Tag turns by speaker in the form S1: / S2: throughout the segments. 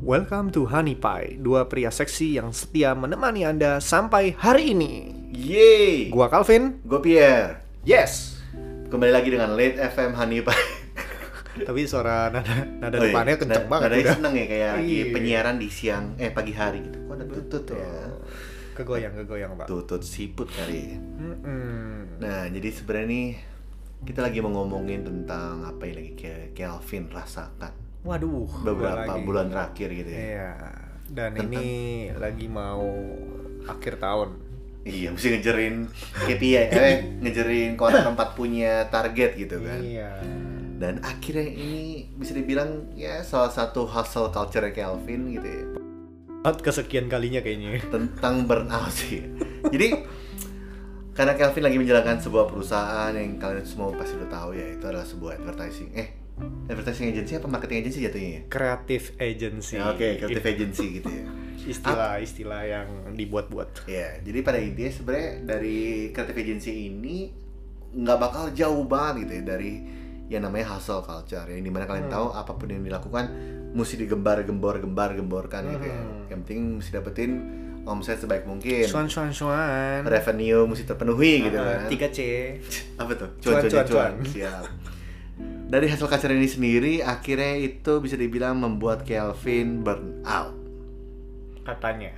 S1: Welcome to Honey Pie, dua pria seksi yang setia menemani Anda sampai hari ini.
S2: Yeay.
S1: Gua Calvin.
S2: Gue Pierre.
S1: Yes.
S2: Kembali lagi dengan Late FM Honey Pie.
S1: Tapi suara nada nada
S2: Oh iya,
S1: depannya kenceng
S2: na-
S1: banget
S2: nadanya
S1: udah.
S2: seneng ya kayak lagi
S1: Iya.
S2: penyiaran di siang eh pagi hari gitu. Kok ada tutut
S1: Betul.
S2: ya?
S1: Iya. Kegoyang, kegoyang, Pak.
S2: Tutut siput kali. ya.
S1: Mm-mm.
S2: Nah, jadi sebenarnya nih kita lagi mau ngomongin tentang apa yang lagi Ke- Kelvin rasakan
S1: Waduh, gua
S2: beberapa
S1: lagi.
S2: bulan terakhir gitu ya.
S1: Iya. Dan
S2: Tentang-
S1: ini lagi mau akhir tahun.
S2: Iya, mesti ngejerin KPI, eh ngejerin kotak tempat punya target gitu kan.
S1: Iya.
S2: Dan akhirnya ini bisa dibilang ya salah satu hustle culture Kelvin gitu ya.
S1: At kesekian kalinya kayaknya.
S2: tentang burnout sih. Jadi karena Kelvin lagi menjalankan sebuah perusahaan yang kalian semua pasti udah tahu ya itu adalah sebuah advertising. Eh, advertising agency apa marketing agency jatuhnya ya?
S1: Creative agency.
S2: Ya, Oke, creative agency gitu ya.
S1: Istilah-istilah yang dibuat-buat.
S2: Ya, jadi pada intinya sebenarnya dari creative agency ini nggak bakal jauh banget gitu ya dari yang namanya hustle culture yang dimana kalian
S1: Hmm.
S2: tahu apapun yang dilakukan mesti digembar gembor gembar gemborkan gitu ya.
S1: Hmm.
S2: Yang penting mesti dapetin omset sebaik mungkin.
S1: Suan, suan, suan.
S2: Kan revenue mesti terpenuhi gitu kan.
S1: tiga C
S2: apa tuh?
S1: Ah, Cuan, cuan, cuan.
S2: Siap. Dari hasil kacar ini sendiri akhirnya itu bisa dibilang membuat Kelvin burn out.
S1: katanya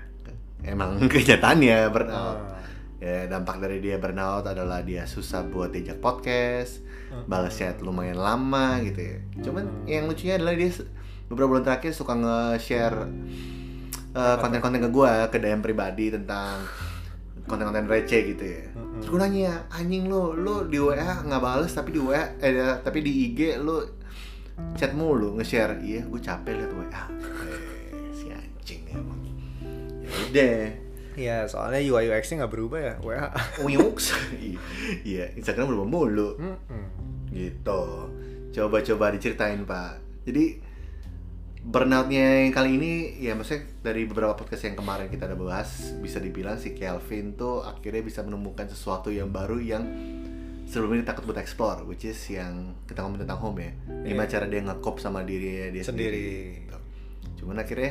S2: Emang kenyataannya burn out.
S1: Ah.
S2: Ya, dampak dari dia burnout adalah dia susah buat diajak podcast, balas chat lumayan lama gitu ya. Cuman yang lucunya adalah dia se- beberapa bulan terakhir suka nge-share uh, konten-konten ke gua ke DM pribadi tentang konten-konten receh gitu ya. Terus gua nanya, anjing lu, lu di WA nggak bales tapi di WA eh da- tapi di IG lu chat mulu nge-share. Iya, gua capek liat WA. Eh, si anjing emang. Ya udah.
S1: ya soalnya UI UX nya nggak berubah ya WA
S2: Uyuks. Iya, Instagram berubah mulu gitu. Coba-coba diceritain, Pak. Jadi burnoutnya yang kali ini ya maksudnya dari beberapa podcast yang kemarin kita udah bahas bisa dibilang si Kelvin tuh akhirnya bisa menemukan sesuatu yang baru yang sebelumnya dia takut buat explore which is yang kita ngomong tentang home ya gimana
S1: Iya.
S2: cara dia ngekop sama dirinya dia
S1: Sendiri.
S2: sendiri, gitu. cuman akhirnya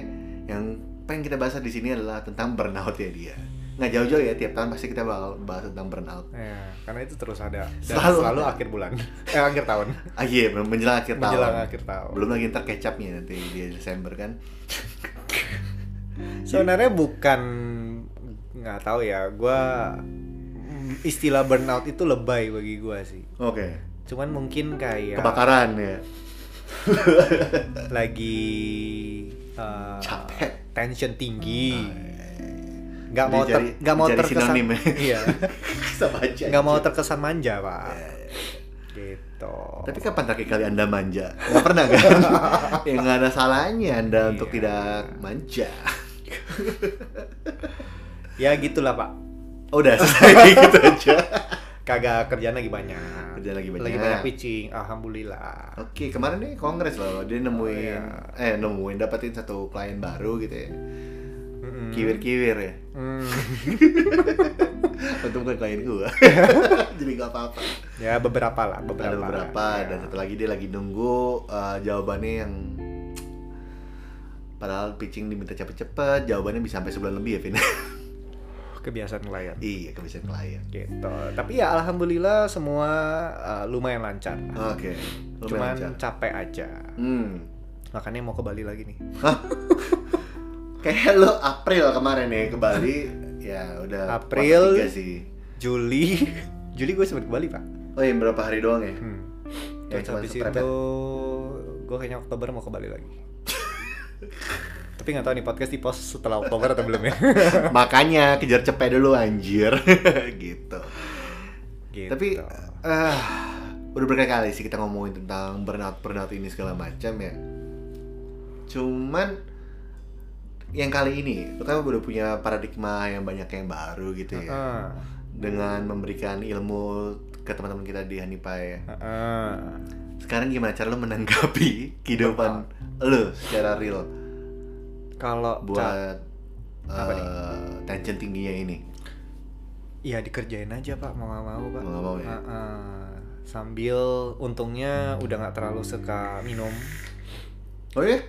S2: yang pengen kita bahas di sini adalah tentang burnout ya dia nggak jauh-jauh ya tiap tahun pasti kita bakal bahas tentang burnout
S1: ya, karena itu terus ada dan selalu,
S2: Selalu ada.
S1: akhir bulan eh akhir tahun
S2: Ah iya, belum menjelang akhir
S1: menjelang
S2: tahun.
S1: akhir tahun
S2: Belum lagi ntar kecapnya nanti di Desember kan.
S1: sebenarnya bukan nggak tahu ya gue istilah burnout itu lebay bagi gue sih
S2: Oke.
S1: cuman mungkin kayak
S2: Kebakaran ya.
S1: lagi uh,
S2: Ah. Capek.
S1: tension
S2: Ah,
S1: tinggi
S2: iya,
S1: nggak
S2: Gak
S1: mau ter, nggak mau terkesan
S2: sinonim ya.
S1: iya
S2: Sama aja.
S1: nggak mau terkesan manja pak
S2: Ya, ya.
S1: gitu
S2: Tapi kapan terakhir kali Anda manja? Gak pernah kan? ya nggak ada salahnya Anda untuk
S1: Iya.
S2: tidak manja.
S1: ya gitulah pak
S2: Oh, udah selesai gitu aja.
S1: kagak kerjaan lagi banyak
S2: Kerjaan lagi banyak.
S1: lagi banyak pitching alhamdulillah
S2: Oke, kemarin nih kongres loh. Dia nemuin
S1: iya.
S2: eh nemuin dapetin satu klien baru gitu ya.
S1: Mm-mm.
S2: Kiwir-kiwir ya.
S1: Mm.
S2: Untung bukan klien gua. Jadi nggak apa-apa.
S1: ya beberapa lah beberapa
S2: ada beberapa
S1: Ya.
S2: dan satu lagi dia lagi nunggu uh, jawabannya yang padahal pitching diminta cepet-cepet jawabannya bisa sampai sebulan lebih ya Vin
S1: kebiasaan klien
S2: iya kebiasaan klien
S1: gitu tapi ya alhamdulillah semua uh, lumayan lancar
S2: oke Oh, lumayan
S1: cuman
S2: lancar.
S1: capek aja
S2: hmm
S1: makanya mau ke Bali lagi nih
S2: kayak lo April kemarin ya ke Bali ya udah kuartal
S1: April.
S2: tiga sih
S1: Juli Juli gue sempet ke Bali pak
S2: oh iya berapa hari doang ya
S1: hmm.
S2: Ya,
S1: terus
S2: cuman
S1: habis
S2: seperempat.
S1: itu
S2: ya?
S1: gue kayaknya Oktober mau ke Bali lagi tapi nggak tahu nih podcast di post setelah Oktober atau belum ya
S2: makanya kejar cepet dulu anjir gitu
S1: gitu.
S2: Tapi eh udah berkali-kali sih kita ngomongin tentang burnout burnout ini segala macam ya. Cuman yang kali ini lu kan udah punya paradigma yang banyak yang baru gitu ya.
S1: Heeh.
S2: Dengan memberikan ilmu ke teman-teman kita di Hanipa ya.
S1: Heeh.
S2: Sekarang gimana cara lu menanggapi kehidupan lu secara real
S1: kalau ca-
S2: buat
S1: Apa
S2: eh,
S1: nih?
S2: tension tingginya ini?
S1: ya dikerjain aja pak mau nggak mau pak
S2: Mau nggak mau ya?
S1: Heeh. sambil untungnya udah nggak terlalu suka minum
S2: Oh iya?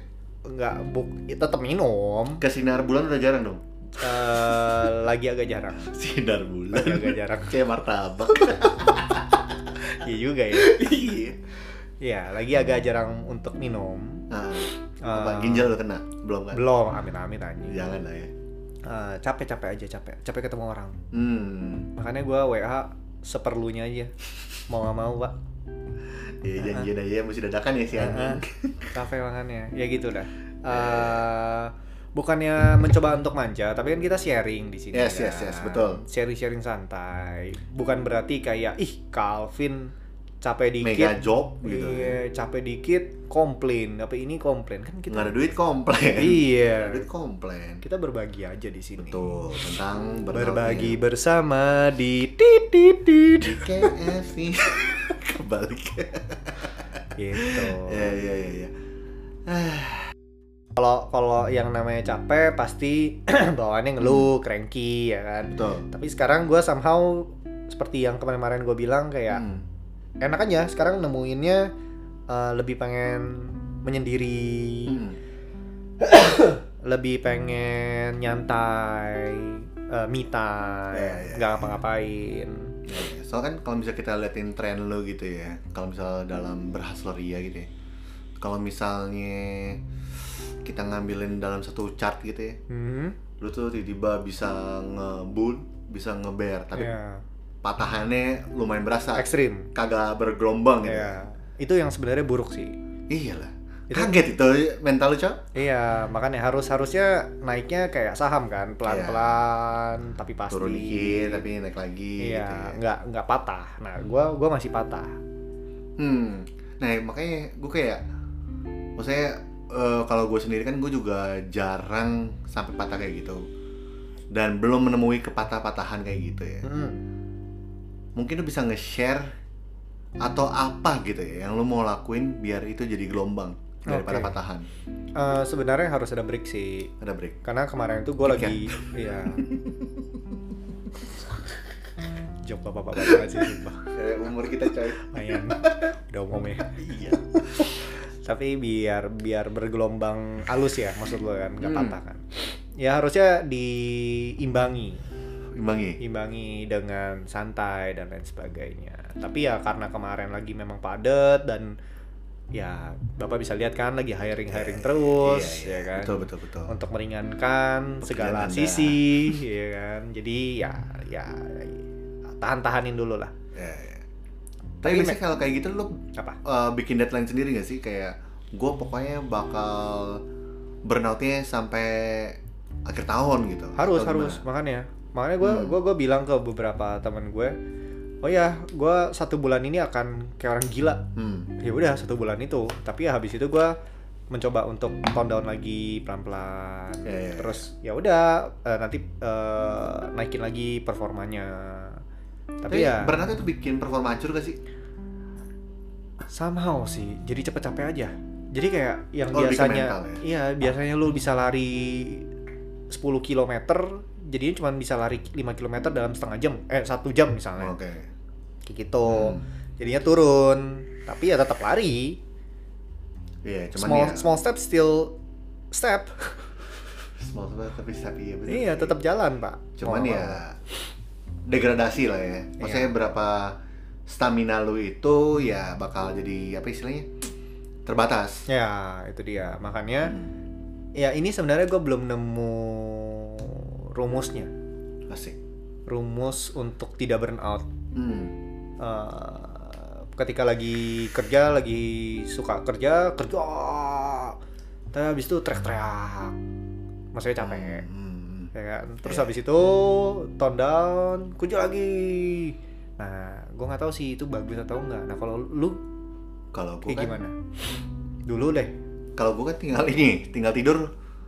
S1: nggak buk ya, tetap minum
S2: Ke sinar bulan udah jarang dong.
S1: Eh, lagi agak jarang
S2: Sinar bulan.
S1: lagi agak jarang
S2: Kayak martabak.
S1: iya juga ya
S2: Iya.
S1: iya lagi agak jarang untuk minum
S2: Nah,
S1: Eh,
S2: apa ginjal udah kena? Belum kan?
S1: belum amin amin aja
S2: Jangan lah ya.
S1: capek capek aja capek capek ketemu orang
S2: Hmm.
S1: makanya gua WA seperlunya aja mau nggak mau pak
S2: Ya
S1: Ah.
S2: janjian aja mesti dadakan ya si anjing.
S1: Hmm, kafe makannya ya gitu dah Eh, bukannya mencoba untuk manja tapi kan kita sharing di sini
S2: Yes,
S1: kan.
S2: yes, yes, betul.
S1: sharing sharing santai bukan berarti kayak ih Calvin capek dikit
S2: Mega job gitu.
S1: iya capek dikit komplain tapi ini komplain kan kita
S2: Nggak ada duit komplain. Nggak ada
S1: iya
S2: duit komplain.
S1: kita berbagi aja di sini
S2: kan? Betul, tentang burnout-nya.
S1: berbagi bersama di tit tit tit
S2: di KFC. Kebalik.
S1: gitu
S2: Ya ya ya ya.
S1: kalau kalau yang namanya capek pasti bawaannya ngeluh cranky ya kan
S2: Betul.
S1: tapi sekarang gue somehow seperti yang kemarin-kemarin gue bilang kayak
S2: Hmm.
S1: enak aja sekarang nemuinnya eh, lebih pengen menyendiri
S2: Hmm.
S1: lebih pengen nyantai eh, me time
S2: Iya, iya.
S1: nggak ngapa-ngapain
S2: Ya, Soalnya kan kalau misalnya kita liatin tren lo gitu ya, kalau misalnya dalam berhasleria gitu ya, kalau misalnya kita ngambilin dalam satu chart gitu ya,
S1: hmm
S2: lo tuh tiba-tiba bisa ngebun, bisa ngeber, tapi
S1: ya.
S2: patahannya lumayan berasa,
S1: ekstrim
S2: kagak bergelombang gitu.
S1: ya itu yang sebenarnya buruk sih
S2: Iyalah,
S1: Itu-
S2: kaget itu mental lo cok.
S1: iya makanya harus harusnya naiknya kayak saham kan pelan-pelan tapi pasti
S2: Iya. Turun dikit tapi naik lagi
S1: iya
S2: gitu ya.
S1: nggak nggak patah nah gue gua masih patah
S2: Hmm. Nah, makanya gue kayak maksudnya eh, kalau gue sendiri kan gue juga jarang sampai patah kayak gitu. Dan belum menemui kepatah-patahan kayak gitu ya.
S1: Mm-mm.
S2: Mungkin lu bisa nge-share atau apa gitu ya yang lu mau lakuin biar itu jadi gelombang daripada
S1: Oke.
S2: patahan.
S1: Eh, sebenarnya harus ada break sih
S2: Ada break.
S1: karena kemarin itu gue
S2: Break ya?
S1: lagi iya job bapak bapak banget sih sumpah
S2: umur kita coy.
S1: Lumayan. udah umum ya
S2: iya.
S1: tapi biar biar bergelombang halus ya maksud lo kan nggak
S2: Hmm.
S1: patah kan ya harusnya diimbangi
S2: Imbangi.
S1: imbangi dengan santai dan lain sebagainya tapi ya karena kemarin lagi memang padat dan ya bapak bisa lihat kan lagi hiring hiring terus
S2: Iya, iya.
S1: ya kan
S2: Betul, betul, betul.
S1: untuk meringankan
S2: Pekerjaan
S1: segala
S2: Anda.
S1: sisi ya kan jadi ya ya tahan-tahanin dulu lah
S2: Iya, iya.
S1: Tapi
S2: Tapi biasanya kalau kayak gitu lu
S1: apa
S2: eh, bikin deadline sendiri gak sih kayak gue pokoknya bakal burnoutnya sampai akhir tahun gitu
S1: harus
S2: Atau
S1: harus
S2: gimana?
S1: makanya makanya gue
S2: Hmm.
S1: gua gua bilang ke beberapa teman gue oh ya gue satu bulan ini akan kayak orang gila
S2: hmm.
S1: ya udah satu bulan itu tapi ya habis itu gue mencoba untuk tone down lagi pelan-pelan
S2: Ya, ya, ya.
S1: terus ya udah eh, nanti eh, naikin lagi performanya
S2: tapi
S1: tapi ya
S2: burnout itu bikin performa hancur gak sih
S1: somehow sih jadi cepet capek aja jadi kayak yang
S2: Oh, lebih ke
S1: biasanya
S2: mental ya?
S1: iya biasanya lu bisa lari 10 km jadinya cuma bisa lari 5 km dalam setengah jam eh satu jam misalnya
S2: oke
S1: kayak gitu
S2: Oh. Hmm.
S1: jadinya turun tapi ya tetap lari
S2: iya cuman
S1: small
S2: ya
S1: small step still step
S2: small step, tapi tapi ya bener
S1: iya
S2: sih.
S1: tetap jalan pak
S2: cuman
S1: Mau
S2: ya
S1: nggak
S2: degradasi lah
S1: Iya.
S2: ya maksudnya berapa stamina lu itu ya bakal jadi apa istilahnya terbatas
S1: mau. ya itu dia makanya
S2: Hmm.
S1: ya ini sebenarnya gue belum nemu rumusnya
S2: asik
S1: rumus untuk tidak burn out
S2: hmm.
S1: Uh, ketika lagi kerja lagi suka kerja kerja tapi habis itu teriak-teriak maksudnya capek
S2: Hmm.
S1: ya kan terus
S2: Iya.
S1: habis itu tone down kerja lagi nah gue nggak tahu sih itu bagus atau enggak nah kalau lu
S2: kalau gue
S1: kayak
S2: kan
S1: gimana dulu deh
S2: kalau gue kan tinggal ini tinggal tidur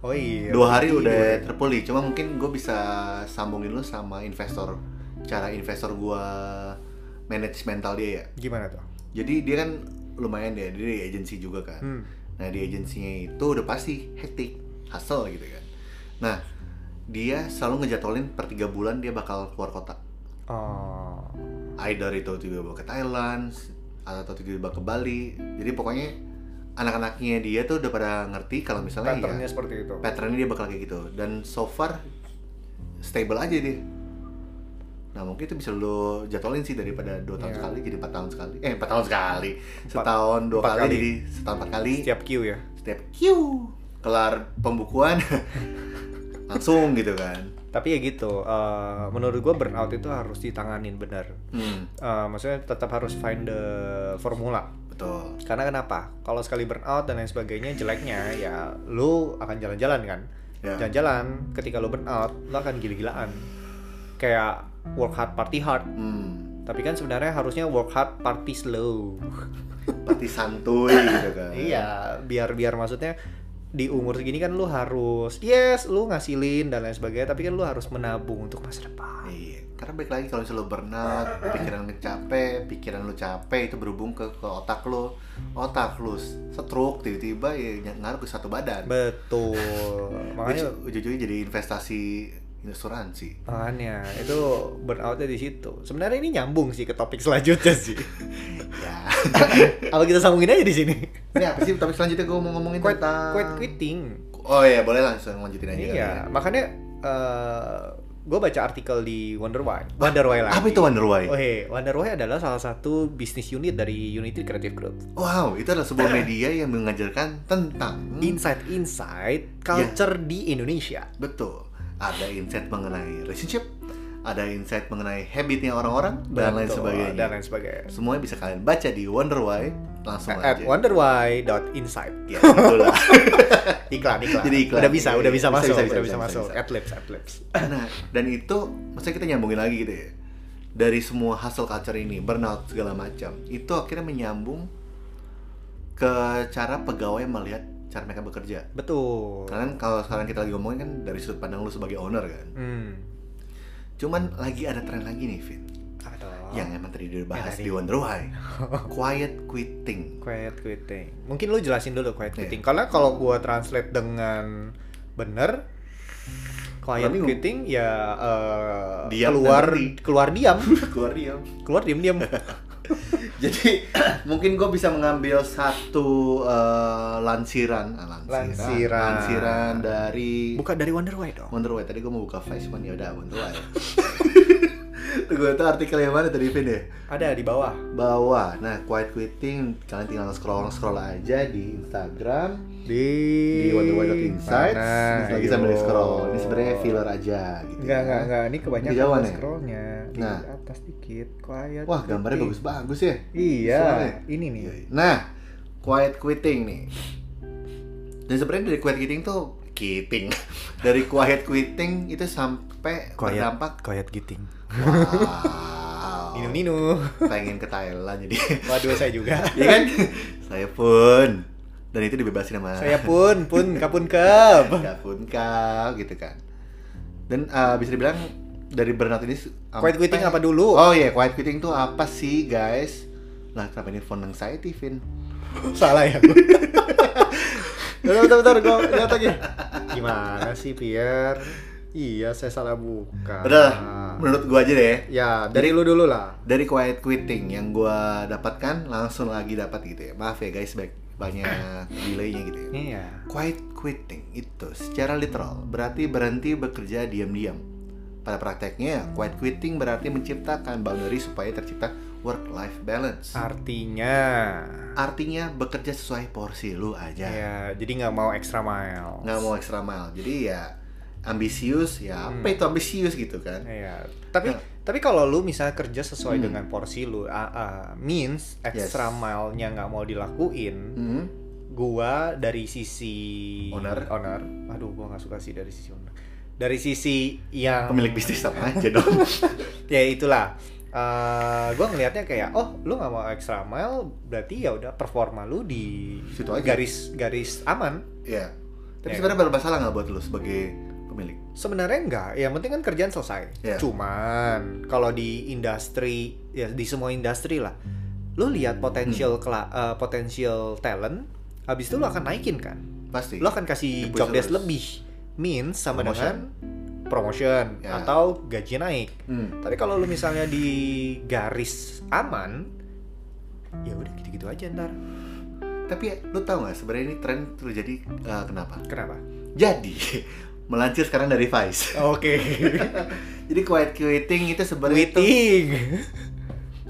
S1: oh iya
S2: dua hari
S1: tidur.
S2: udah terpulih cuma mungkin gue bisa sambungin lu sama investor cara investor gua manage mental dia ya
S1: gimana tuh
S2: jadi dia kan lumayan deh dia di agensi juga kan
S1: hmm.
S2: nah di agensinya itu udah pasti hektik hustle gitu kan nah dia selalu ngejadwalin per tiga bulan dia bakal keluar kota
S1: oh
S2: either itu tiba-tiba ke Thailand atau tiba-tiba ke Bali jadi pokoknya anak-anaknya dia tuh udah pada ngerti kalau misalnya
S1: Patternnya
S2: ya
S1: oh, seperti itu.
S2: patternnya dia bakal kayak gitu dan so far stable aja dia nah mungkin itu bisa lo jadwalin sih daripada dua tahun
S1: Iya.
S2: sekali jadi empat tahun sekali eh empat tahun sekali setahun dua
S1: empat
S2: kali,
S1: kali.
S2: jadi setahun empat kali
S1: Setiap queue ya.
S2: setiap kiu kelar pembukuan langsung gitu kan
S1: Tapi ya gitu, eh, menurut gua burnout itu harus ditanganin benar.
S2: hmm,
S1: Eh, maksudnya tetap harus find the formula.
S2: betul
S1: Karena kenapa? Kalau sekali burnout dan lain sebagainya jeleknya ya lu akan jalan-jalan kan.
S2: Ya.
S1: Jalan-jalan ketika lu burnout lu akan gila-gilaan. Kayak work hard party hard.
S2: hmm,
S1: Tapi kan sebenarnya harusnya work hard party slow.
S2: pati santuy gitu kan
S1: Iya, biar biar maksudnya di umur segini kan lu harus yes, lu ngasilin dan lain sebagainya, tapi kan lu harus menabung untuk masa depan.
S2: Iya, karena balik lagi kalau misalnya lo burnout, pikiran lo capek, pikiran lo capek itu berhubung ke, ke otak lo, otak lo stroke tiba-tiba ya ny- ngaruh ke satu badan.
S1: Betul.
S2: Makanya
S1: Makanya
S2: ujung-ujungnya jadi investasi asuransi.
S1: makanya itu burnoutnya di situ. Sebenarnya ini nyambung sih ke topik selanjutnya sih.
S2: Ya.
S1: Apa kita sambungin aja di sini?
S2: Ini apa sih topik selanjutnya gue mau ngomongin
S1: Quit,
S2: tentang
S1: quit quitting.
S2: Oh iya, boleh langsung lanjutin aja. kali
S1: Iya,
S2: ya.
S1: makanya gue baca artikel di Wonder Why. Wonder Why lagi.
S2: Apa itu Wonder Why?
S1: Oh, hey, Wonder Why adalah salah satu bisnis unit dari Unity Creative Group.
S2: Wow, itu adalah
S1: Nah.
S2: sebuah media yang mengajarkan tentang
S1: Hmm. Insight-insight culture di Indonesia.
S2: Betul. Ada insight mengenai relationship, ada insight mengenai habitnya orang-orang dan lain
S1: Betul,
S2: sebagainya.
S1: Dan lain sebagainya.
S2: Semuanya bisa kalian baca di Wonder Why langsung
S1: At
S2: aja.
S1: wonderwhy.insight.
S2: Ya, betul lah.
S1: Iklan, iklan.
S2: Jadi iklan.
S1: Udah bisa,
S2: Iya,
S1: udah bisa,
S2: bisa,
S1: masuk,
S2: bisa, bisa,
S1: udah bisa,
S2: bisa,
S1: masuk.
S2: bisa.
S1: Adlibs, adlibs.
S2: nah, dan itu maksudnya kita nyambungin lagi gitu ya. Dari semua hustle culture ini, burnout segala macam, itu akhirnya menyambung ke cara pegawai melihat cara mereka bekerja.
S1: Betul.
S2: Karena kan kalau sekarang kita lagi ngomongin kan dari sudut pandang lu sebagai owner kan.
S1: Hmm.
S2: Cuman lagi ada tren lagi nih, Vin.
S1: Apa tuh?
S2: Oh. Yang emang tadi udah bahas
S1: tadi.
S2: di Wonder Why. Quiet quitting.
S1: Quiet quitting. Mungkin lu jelasin dulu quiet
S2: Iya.
S1: quitting. Karena kalau gua translate dengan bener quiet
S2: Orang bingung.
S1: quitting ya eh,
S2: Diam
S1: keluar
S2: dan berhenti.
S1: keluar diam,
S2: Keluar diam.
S1: keluar diam-diam.
S2: Jadi mungkin gue bisa mengambil satu eh, lansiran, ah,
S1: Lansiran.
S2: lansiran dari
S1: Buka dari Wonder Why dong.
S2: Wonder Why. Tadi gue mau buka Vice, cuman ya udah Wonder Why. gue itu artikel yang mana tadi Vin ya?
S1: Ada di bawah.
S2: Bahwa, nah quiet quitting kalian tinggal scroll scroll aja di Instagram
S1: Di,
S2: di wonderwhy.insights
S1: Mana?
S2: Terus lagi sambil
S1: Yo.
S2: scroll. Ini sebenarnya filler aja gitu.
S1: Enggak,
S2: ya.
S1: enggak, enggak. Ini kebanyakan
S2: Kejauhan ya?
S1: scrollnya. Di
S2: Nah.
S1: atas dikit, quiet.
S2: Wah, gambarnya
S1: quitting.
S2: bagus-bagus ya.
S1: Iya,
S2: Soalnya.
S1: ini nih.
S2: Nah, quiet quitting nih. Dan sebenarnya dari quiet quitting tuh keeping. Dari quiet quitting itu sampai berdampak
S1: quiet quitting.
S2: wow.
S1: Nino Nino.
S2: pengen ke Thailand jadi.
S1: Waduh, saya juga.
S2: Iya kan? Saya pun. Dan itu dibebasin sama
S1: saya pun, pun kapun kep.
S2: Ya pun kau gitu kan. Dan eh, bisa dibilang dari burnout ini sampai-
S1: Quiet quitting apa dulu?
S2: Oh iya, quiet quitting tuh apa sih, guys? Nah, kenapa ini phone anxiety, Vin?
S1: Salah ya gue. bentar, bentar, bentar, gue lihat lagi. Gimana sih, Pierre? Iya, saya salah buka.
S2: Udah lah,
S1: Ah.
S2: menurut gua aja deh.
S1: Ya, dari lu dulu lah.
S2: dari quiet quitting yang gua dapatkan langsung lagi dapat gitu ya maaf ya guys baik banyak delaynya gitu ya
S1: Iya.
S2: quiet quitting itu secara literal berarti berhenti bekerja diam-diam pada prakteknya quiet quitting berarti menciptakan boundary supaya tercipta work life balance
S1: Ah. Artinya
S2: artinya bekerja sesuai porsi lu
S1: ya,
S2: aja
S1: jadi nggak mau extra mile.
S2: nggak mau extra mile jadi ya ambisius ya apa
S1: Hmm.
S2: itu ambisius gitu kan
S1: Iya. Tapi
S2: Nah.
S1: tapi kalau lu misalnya kerja sesuai
S2: Hmm.
S1: dengan porsi lu, ah, ah, means extra
S2: Yes.
S1: mile-nya nggak mau dilakuin,
S2: Hmm.
S1: gua dari sisi
S2: Owner.
S1: owner. Aduh, gua nggak suka sih dari sisi owner. Dari sisi yang
S2: pemilik bisnis sama aja dong
S1: ya itulah Eh, Gua gue ngelihatnya kayak oh lu nggak mau extra mile berarti ya udah performa lu di
S2: Situ aja.
S1: garis garis aman
S2: ya
S1: Ya.
S2: tapi sebenarnya bermasalah nggak buat lu sebagai pemilik
S1: sebenarnya enggak yang penting kan kerjaan selesai
S2: Iya.
S1: cuman kalau di industri ya di semua industri lah lu lihat
S2: Hmm.
S1: potensial kela- eh, potensial talent habis itu lu akan naikin kan
S2: pasti
S1: lu akan kasih
S2: Dipush
S1: job desk
S2: terus.
S1: lebih means sama
S2: Promotion.
S1: dengan promotion
S2: Ya.
S1: atau gaji naik
S2: Hmm.
S1: Tapi kalau lu misalnya di garis aman, ya udah gitu-gitu aja ntar.
S2: Tapi lu tahu nggak sebenarnya ini tren terjadi eh, kenapa?
S1: Kenapa?
S2: Jadi melancir sekarang dari Vice.
S1: Oke.
S2: Jadi quiet quitting itu sebenarnya itu
S1: Waiting.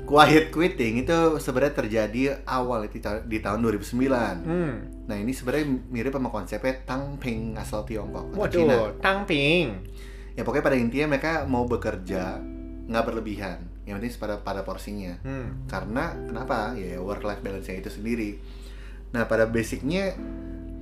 S2: quiet quitting itu sebenarnya terjadi awal itu ta- di tahun 2009.
S1: Hmm.
S2: Nah, ini sebenarnya mirip sama konsepnya Tangping asal Tiongkok atau Cina.
S1: Waduh, tangping.
S2: Ya pokoknya pada intinya mereka mau bekerja nggak berlebihan. Yang penting pada pada porsinya.
S1: Hmm.
S2: karena kenapa ya work life balance nya itu sendiri nah pada basicnya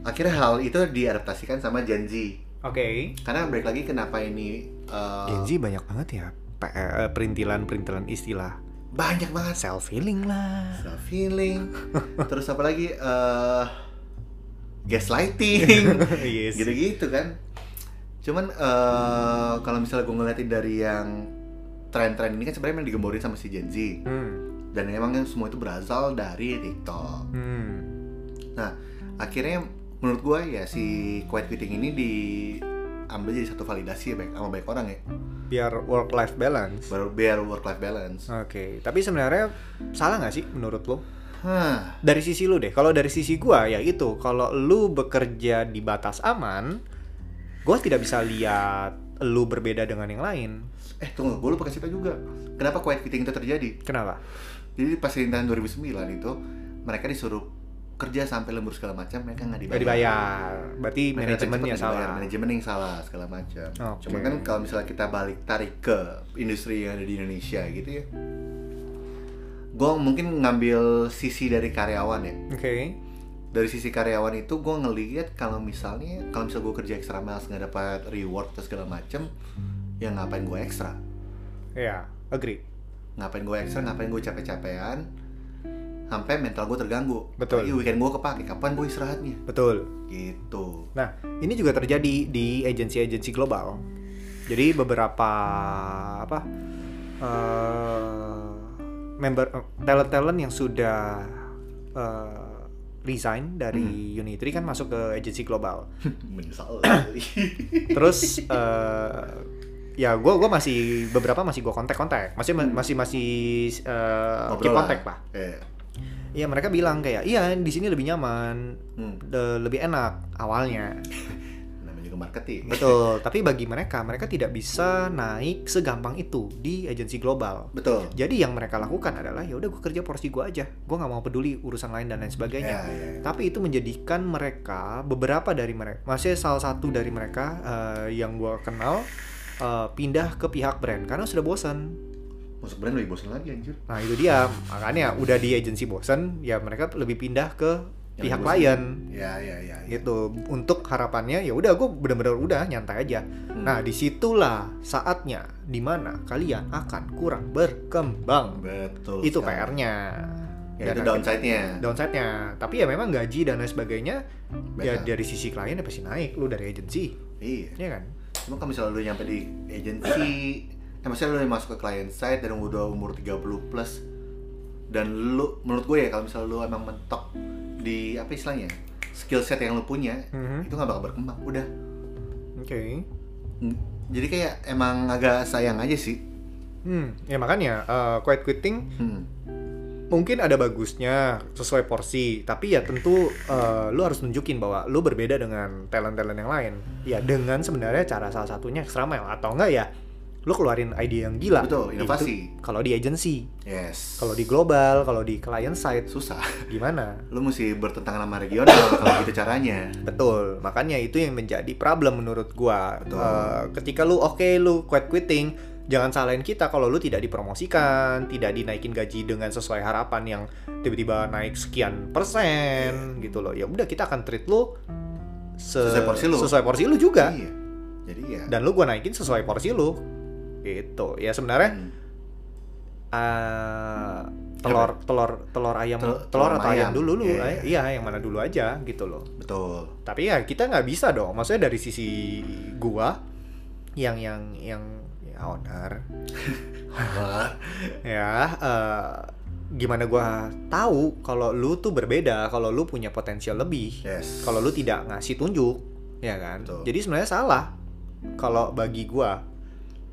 S2: akhirnya hal itu diadaptasikan sama Gen Z
S1: Oke.
S2: karena balik lagi kenapa ini uh,
S1: Gen Z banyak banget ya pe- eh, perintilan-perintilan istilah.
S2: banyak banget
S1: Self healing lah.
S2: self healing terus apa lagi eh gaslighting
S1: yes.
S2: gitu-gitu kan cuman eh, kalau misalnya gue ngeliatin dari yang tren-tren ini kan sebenarnya emang digemborin sama si Gen Z
S1: Hmm.
S2: dan emang yang semua itu berasal dari TikTok
S1: Hmm.
S2: Nah, akhirnya menurut gue ya si quiet quitting ini diambil jadi satu validasi ya baik sama baik orang ya
S1: Biar work life balance. Oke,
S2: baru biar work life balance.
S1: tapi sebenarnya salah nggak sih menurut lo?
S2: Hah,
S1: dari sisi lu deh kalau dari sisi gua ya itu kalau lu bekerja di batas aman gua tidak bisa lihat lu berbeda dengan yang lain
S2: eh tunggu gue lupa kasih tau juga kenapa quiet quitting itu terjadi.
S1: kenapa
S2: Jadi pas di tahun 2009 itu mereka disuruh kerja sampai lembur segala macam mereka nggak dibayar.
S1: nggak dibayar berarti
S2: Mereka
S1: manajemennya
S2: cepet nggak dibayar,
S1: salah
S2: Manajemen yang salah segala macam.
S1: Oke.
S2: Cuma kan kalau misalnya kita balik tarik ke industri yang ada di Indonesia gitu ya. Gue mungkin ngambil sisi dari karyawan ya.
S1: oke
S2: dari sisi karyawan itu gue ngelihat kalau misalnya kalau misal gue kerja extra miles nggak dapat reward atau segala macem ya ngapain gue ekstra
S1: ya agree
S2: ngapain gue ekstra ngapain gue capek-capean sampai mental gue terganggu
S1: Betul.
S2: Lagi weekend gue kepake kapan gue istirahatnya
S1: betul
S2: gitu
S1: nah ini juga terjadi di agensi-agensi global jadi beberapa apa eh, member eh, talent-talent yang sudah eh, resign dari
S2: Hmm.
S1: Unitri kan masuk ke agensi global
S2: menyesal sekali.
S1: terus eh, ya gue gua masih beberapa masih gue kontak kontak masih ma- masih masih eh,
S2: Hmm. Ngobrol
S1: keep
S2: lah.
S1: kontak lah
S2: eh,
S1: Iya mereka bilang kayak iya di sini lebih nyaman
S2: hmm,
S1: de- lebih enak awalnya
S2: namanya juga marketing
S1: betul tapi bagi mereka mereka tidak bisa naik segampang itu di agensi global
S2: betul
S1: jadi yang mereka lakukan adalah ya udah gue kerja porsi gue aja gue nggak mau peduli urusan lain dan lain sebagainya
S2: Ya, ya.
S1: tapi itu menjadikan mereka beberapa dari mereka masih salah satu dari mereka eh, yang gua kenal eh, pindah ke pihak brand karena sudah bosan
S2: masuk brand lebih bosan lagi anjir
S1: nah itu dia makanya udah di agensi bosan ya mereka lebih pindah ke
S2: Yang
S1: pihak
S2: bosen.
S1: klien
S2: ya ya ya, ya.
S1: gitu untuk harapannya ya udah gue bener-bener udah nyantai aja
S2: Hmm.
S1: nah disitulah saatnya dimana kalian akan kurang berkembang
S2: betul
S1: itu
S2: sekali.
S1: PR-nya
S2: ya, itu
S1: kan?
S2: downside-nya
S1: downside-nya tapi ya memang gaji dan lain sebagainya ya
S2: Biasa.
S1: dari sisi klien ya pasti naik lu dari agensi
S2: iya
S1: ya kan
S2: Cuma kalau misalnya lu nyampe di agency, eh, maksudnya lu masuk ke client side dan udah umur 30 plus dan lu menurut gue ya kalau misalnya lu emang mentok di apa istilahnya skill set yang lu punya
S1: Mhm.
S2: itu nggak bakal berkembang udah
S1: oke
S2: Mm. jadi kayak emang agak sayang aja sih
S1: hmm ya makanya eh, quiet quitting
S2: Hmm.
S1: mungkin ada bagusnya sesuai porsi tapi ya tentu eh, lu harus nunjukin bahwa lu berbeda dengan talent talent yang lain ya dengan sebenarnya cara salah satunya extra mile atau enggak ya lu keluarin ide yang gila
S2: betul inovasi
S1: Itu kalau di agency
S2: yes
S1: kalau di global kalau di client side
S2: susah
S1: gimana
S2: lu mesti bertentangan sama regional kalau gitu caranya
S1: Betul, makanya itu yang menjadi problem menurut gua.
S2: Betul.
S1: Eh, ketika lu oke lu quit quitting, jangan salahin kita kalau lu tidak dipromosikan, tidak dinaikin gaji dengan sesuai harapan yang tiba-tiba naik sekian persen gitu loh. Ya udah kita akan treat lu se-
S2: Iya. Sesuai porsi lu.
S1: sesuai porsi lu juga.
S2: iya jadi ya
S1: Dan lu gua naikin sesuai porsi lu. Gitu. Ya sebenarnya
S2: Hmm.
S1: eh, telur telur telur ayam
S2: Iya. Tel-
S1: telur,
S2: telur
S1: atau
S2: ayam.
S1: ayam, dulu lu.
S2: Iya,
S1: Iya, yang mana dulu aja gitu loh
S2: betul
S1: tapi ya kita nggak bisa dong maksudnya dari sisi gua yang yang yang ya owner
S2: Wah,
S1: ya eh, gimana gua tahu kalau lu tuh berbeda kalau lu punya potensial lebih
S2: yes
S1: kalau lu tidak ngasih tunjuk ya kan
S2: Betul.
S1: jadi sebenarnya salah kalau bagi gua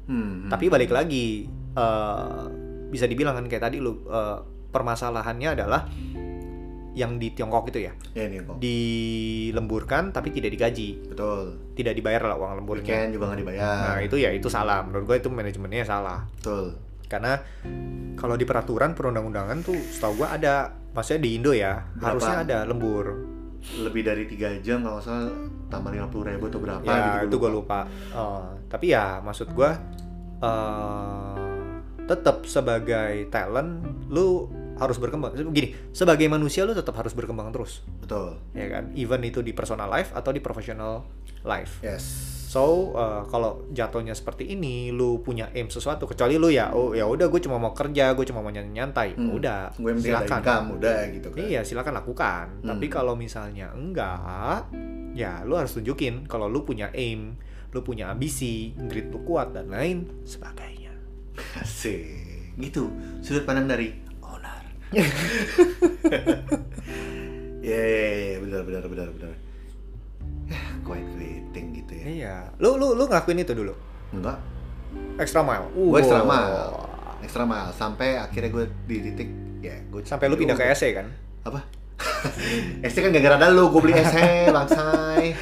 S2: Hmm, hmm.
S1: tapi balik lagi eh, bisa dibilang kan kayak tadi lu eh, permasalahannya adalah yang di Tiongkok itu ya
S2: ya nih kok
S1: dilemburkan tapi tidak digaji
S2: betul
S1: tidak dibayar lah uang lemburnya
S2: weekend juga nggak dibayar
S1: nah itu ya itu salah menurut gue itu manajemennya salah
S2: betul
S1: karena kalau di peraturan perundang-undangan tuh setahu gue ada maksudnya di Indo ya
S2: Berapa?
S1: harusnya ada lembur
S2: lebih dari tiga jam kalau nggak salah tambah lima puluh ribu atau berapa
S1: ya itu
S2: gitu
S1: gue lupa Eh, tapi ya maksud gue tetap sebagai talent lu harus berkembang gini sebagai manusia lu tetap harus berkembang terus
S2: betul
S1: ya kan even itu di personal life atau di professional life
S2: yes
S1: so eh, kalau jatuhnya seperti ini lu punya aim sesuatu kecuali lu ya oh ya udah gue cuma mau kerja gue cuma mau nyantai
S2: Hmm.
S1: udah
S2: gue mending ada
S1: silakan
S2: income udah gitu kan
S1: Iya silakan lakukan. Tapi
S2: Hmm.
S1: kalau misalnya enggak, ya lu harus tunjukin kalau lu punya aim, lu punya ambisi, grit lu kuat dan lain sebagainya.
S2: Asik. Gitu sudut pandang dari owner. Iya, Ya, ya, ya, benar benar benar benar. Ya, Quiet quitting gitu ya.
S1: Iya. Lu lu lu ngakuin itu dulu.
S2: Enggak,
S1: Extra mile.
S2: gue
S1: Wow.
S2: extra mile. Extra mile sampai akhirnya gue di titik ya gue
S1: Sampai lu pindah ke SE kan?
S2: apa? SC kan gara-gara ada lu, gue beli SC, bangsai.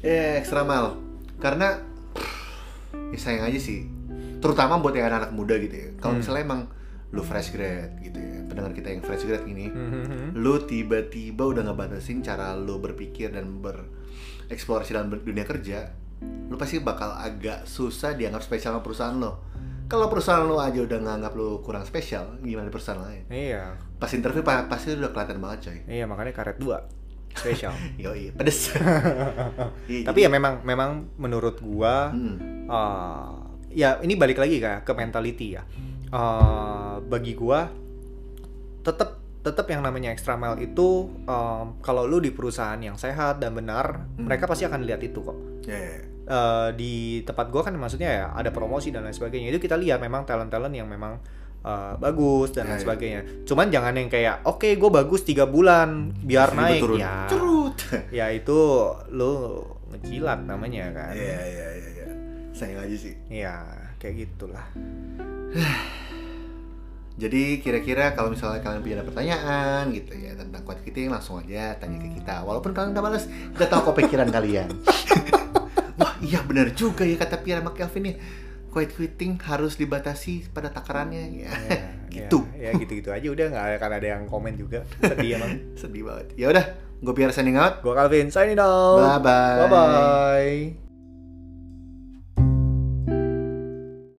S2: ya, extra mile. Karena ya sayang aja sih. Terutama buat yang anak-anak muda gitu ya. Kalau
S1: Hmm.
S2: misalnya emang lu fresh grad gitu ya. Pendengar kita yang fresh grad ini,
S1: Mhm.
S2: lu tiba-tiba udah ngebatasin cara lu berpikir dan bereksplorasi dalam ber- dunia kerja, lu pasti bakal agak susah dianggap spesial sama perusahaan lo. Kalau perusahaan lo aja udah nganggap lu kurang spesial, gimana perusahaan lain?
S1: Iya.
S2: pas interview pa- pasti udah kelihatan banget coy
S1: Iya makanya karet dua spesial.
S2: yoi pedes Iya,
S1: Tapi ya
S2: jadi-
S1: memang memang menurut gua
S2: Hmm,
S1: Uh, ya ini balik lagi kak ke mentality ya. Uh, bagi gua tetap tetap yang namanya extra mile itu um, kalau lu di perusahaan yang sehat dan benar,
S2: Hmm.
S1: mereka pasti akan lihat itu kok.
S2: ya, ya, ya.
S1: Uh, di tempat gua kan maksudnya ya ada promosi dan lain sebagainya. Itu kita lihat memang talent-talent yang memang uh, bagus dan
S2: Ya,
S1: lain
S2: ya.
S1: sebagainya. Cuman jangan yang kayak oke gue bagus tiga bulan biar
S2: Terus
S1: naik
S2: turun.
S1: ya.
S2: Curut.
S1: Ya itu lu ngejilat namanya kan.
S2: Iya, iya, iya, iya. Sayang aja sih.
S1: Ya kayak gitulah.
S2: Jadi kira-kira kalau misalnya kalian punya ada pertanyaan gitu ya tentang kuat kita langsung aja tanya ke kita. Walaupun kalian udah males, kita tahu kok pikiran kalian. Wah iya benar juga ya kata Pierre sama Kelvin ya. Quiet quitting harus dibatasi pada takarannya ya.
S1: Ya,
S2: Gitu.
S1: ya gitu-gitu aja udah nggak akan ada yang komen juga sedih emang
S2: Sedih banget. Ya udah, gue Pierre signing out.
S1: gue Calvin signing out
S2: Bye bye.
S1: bye bye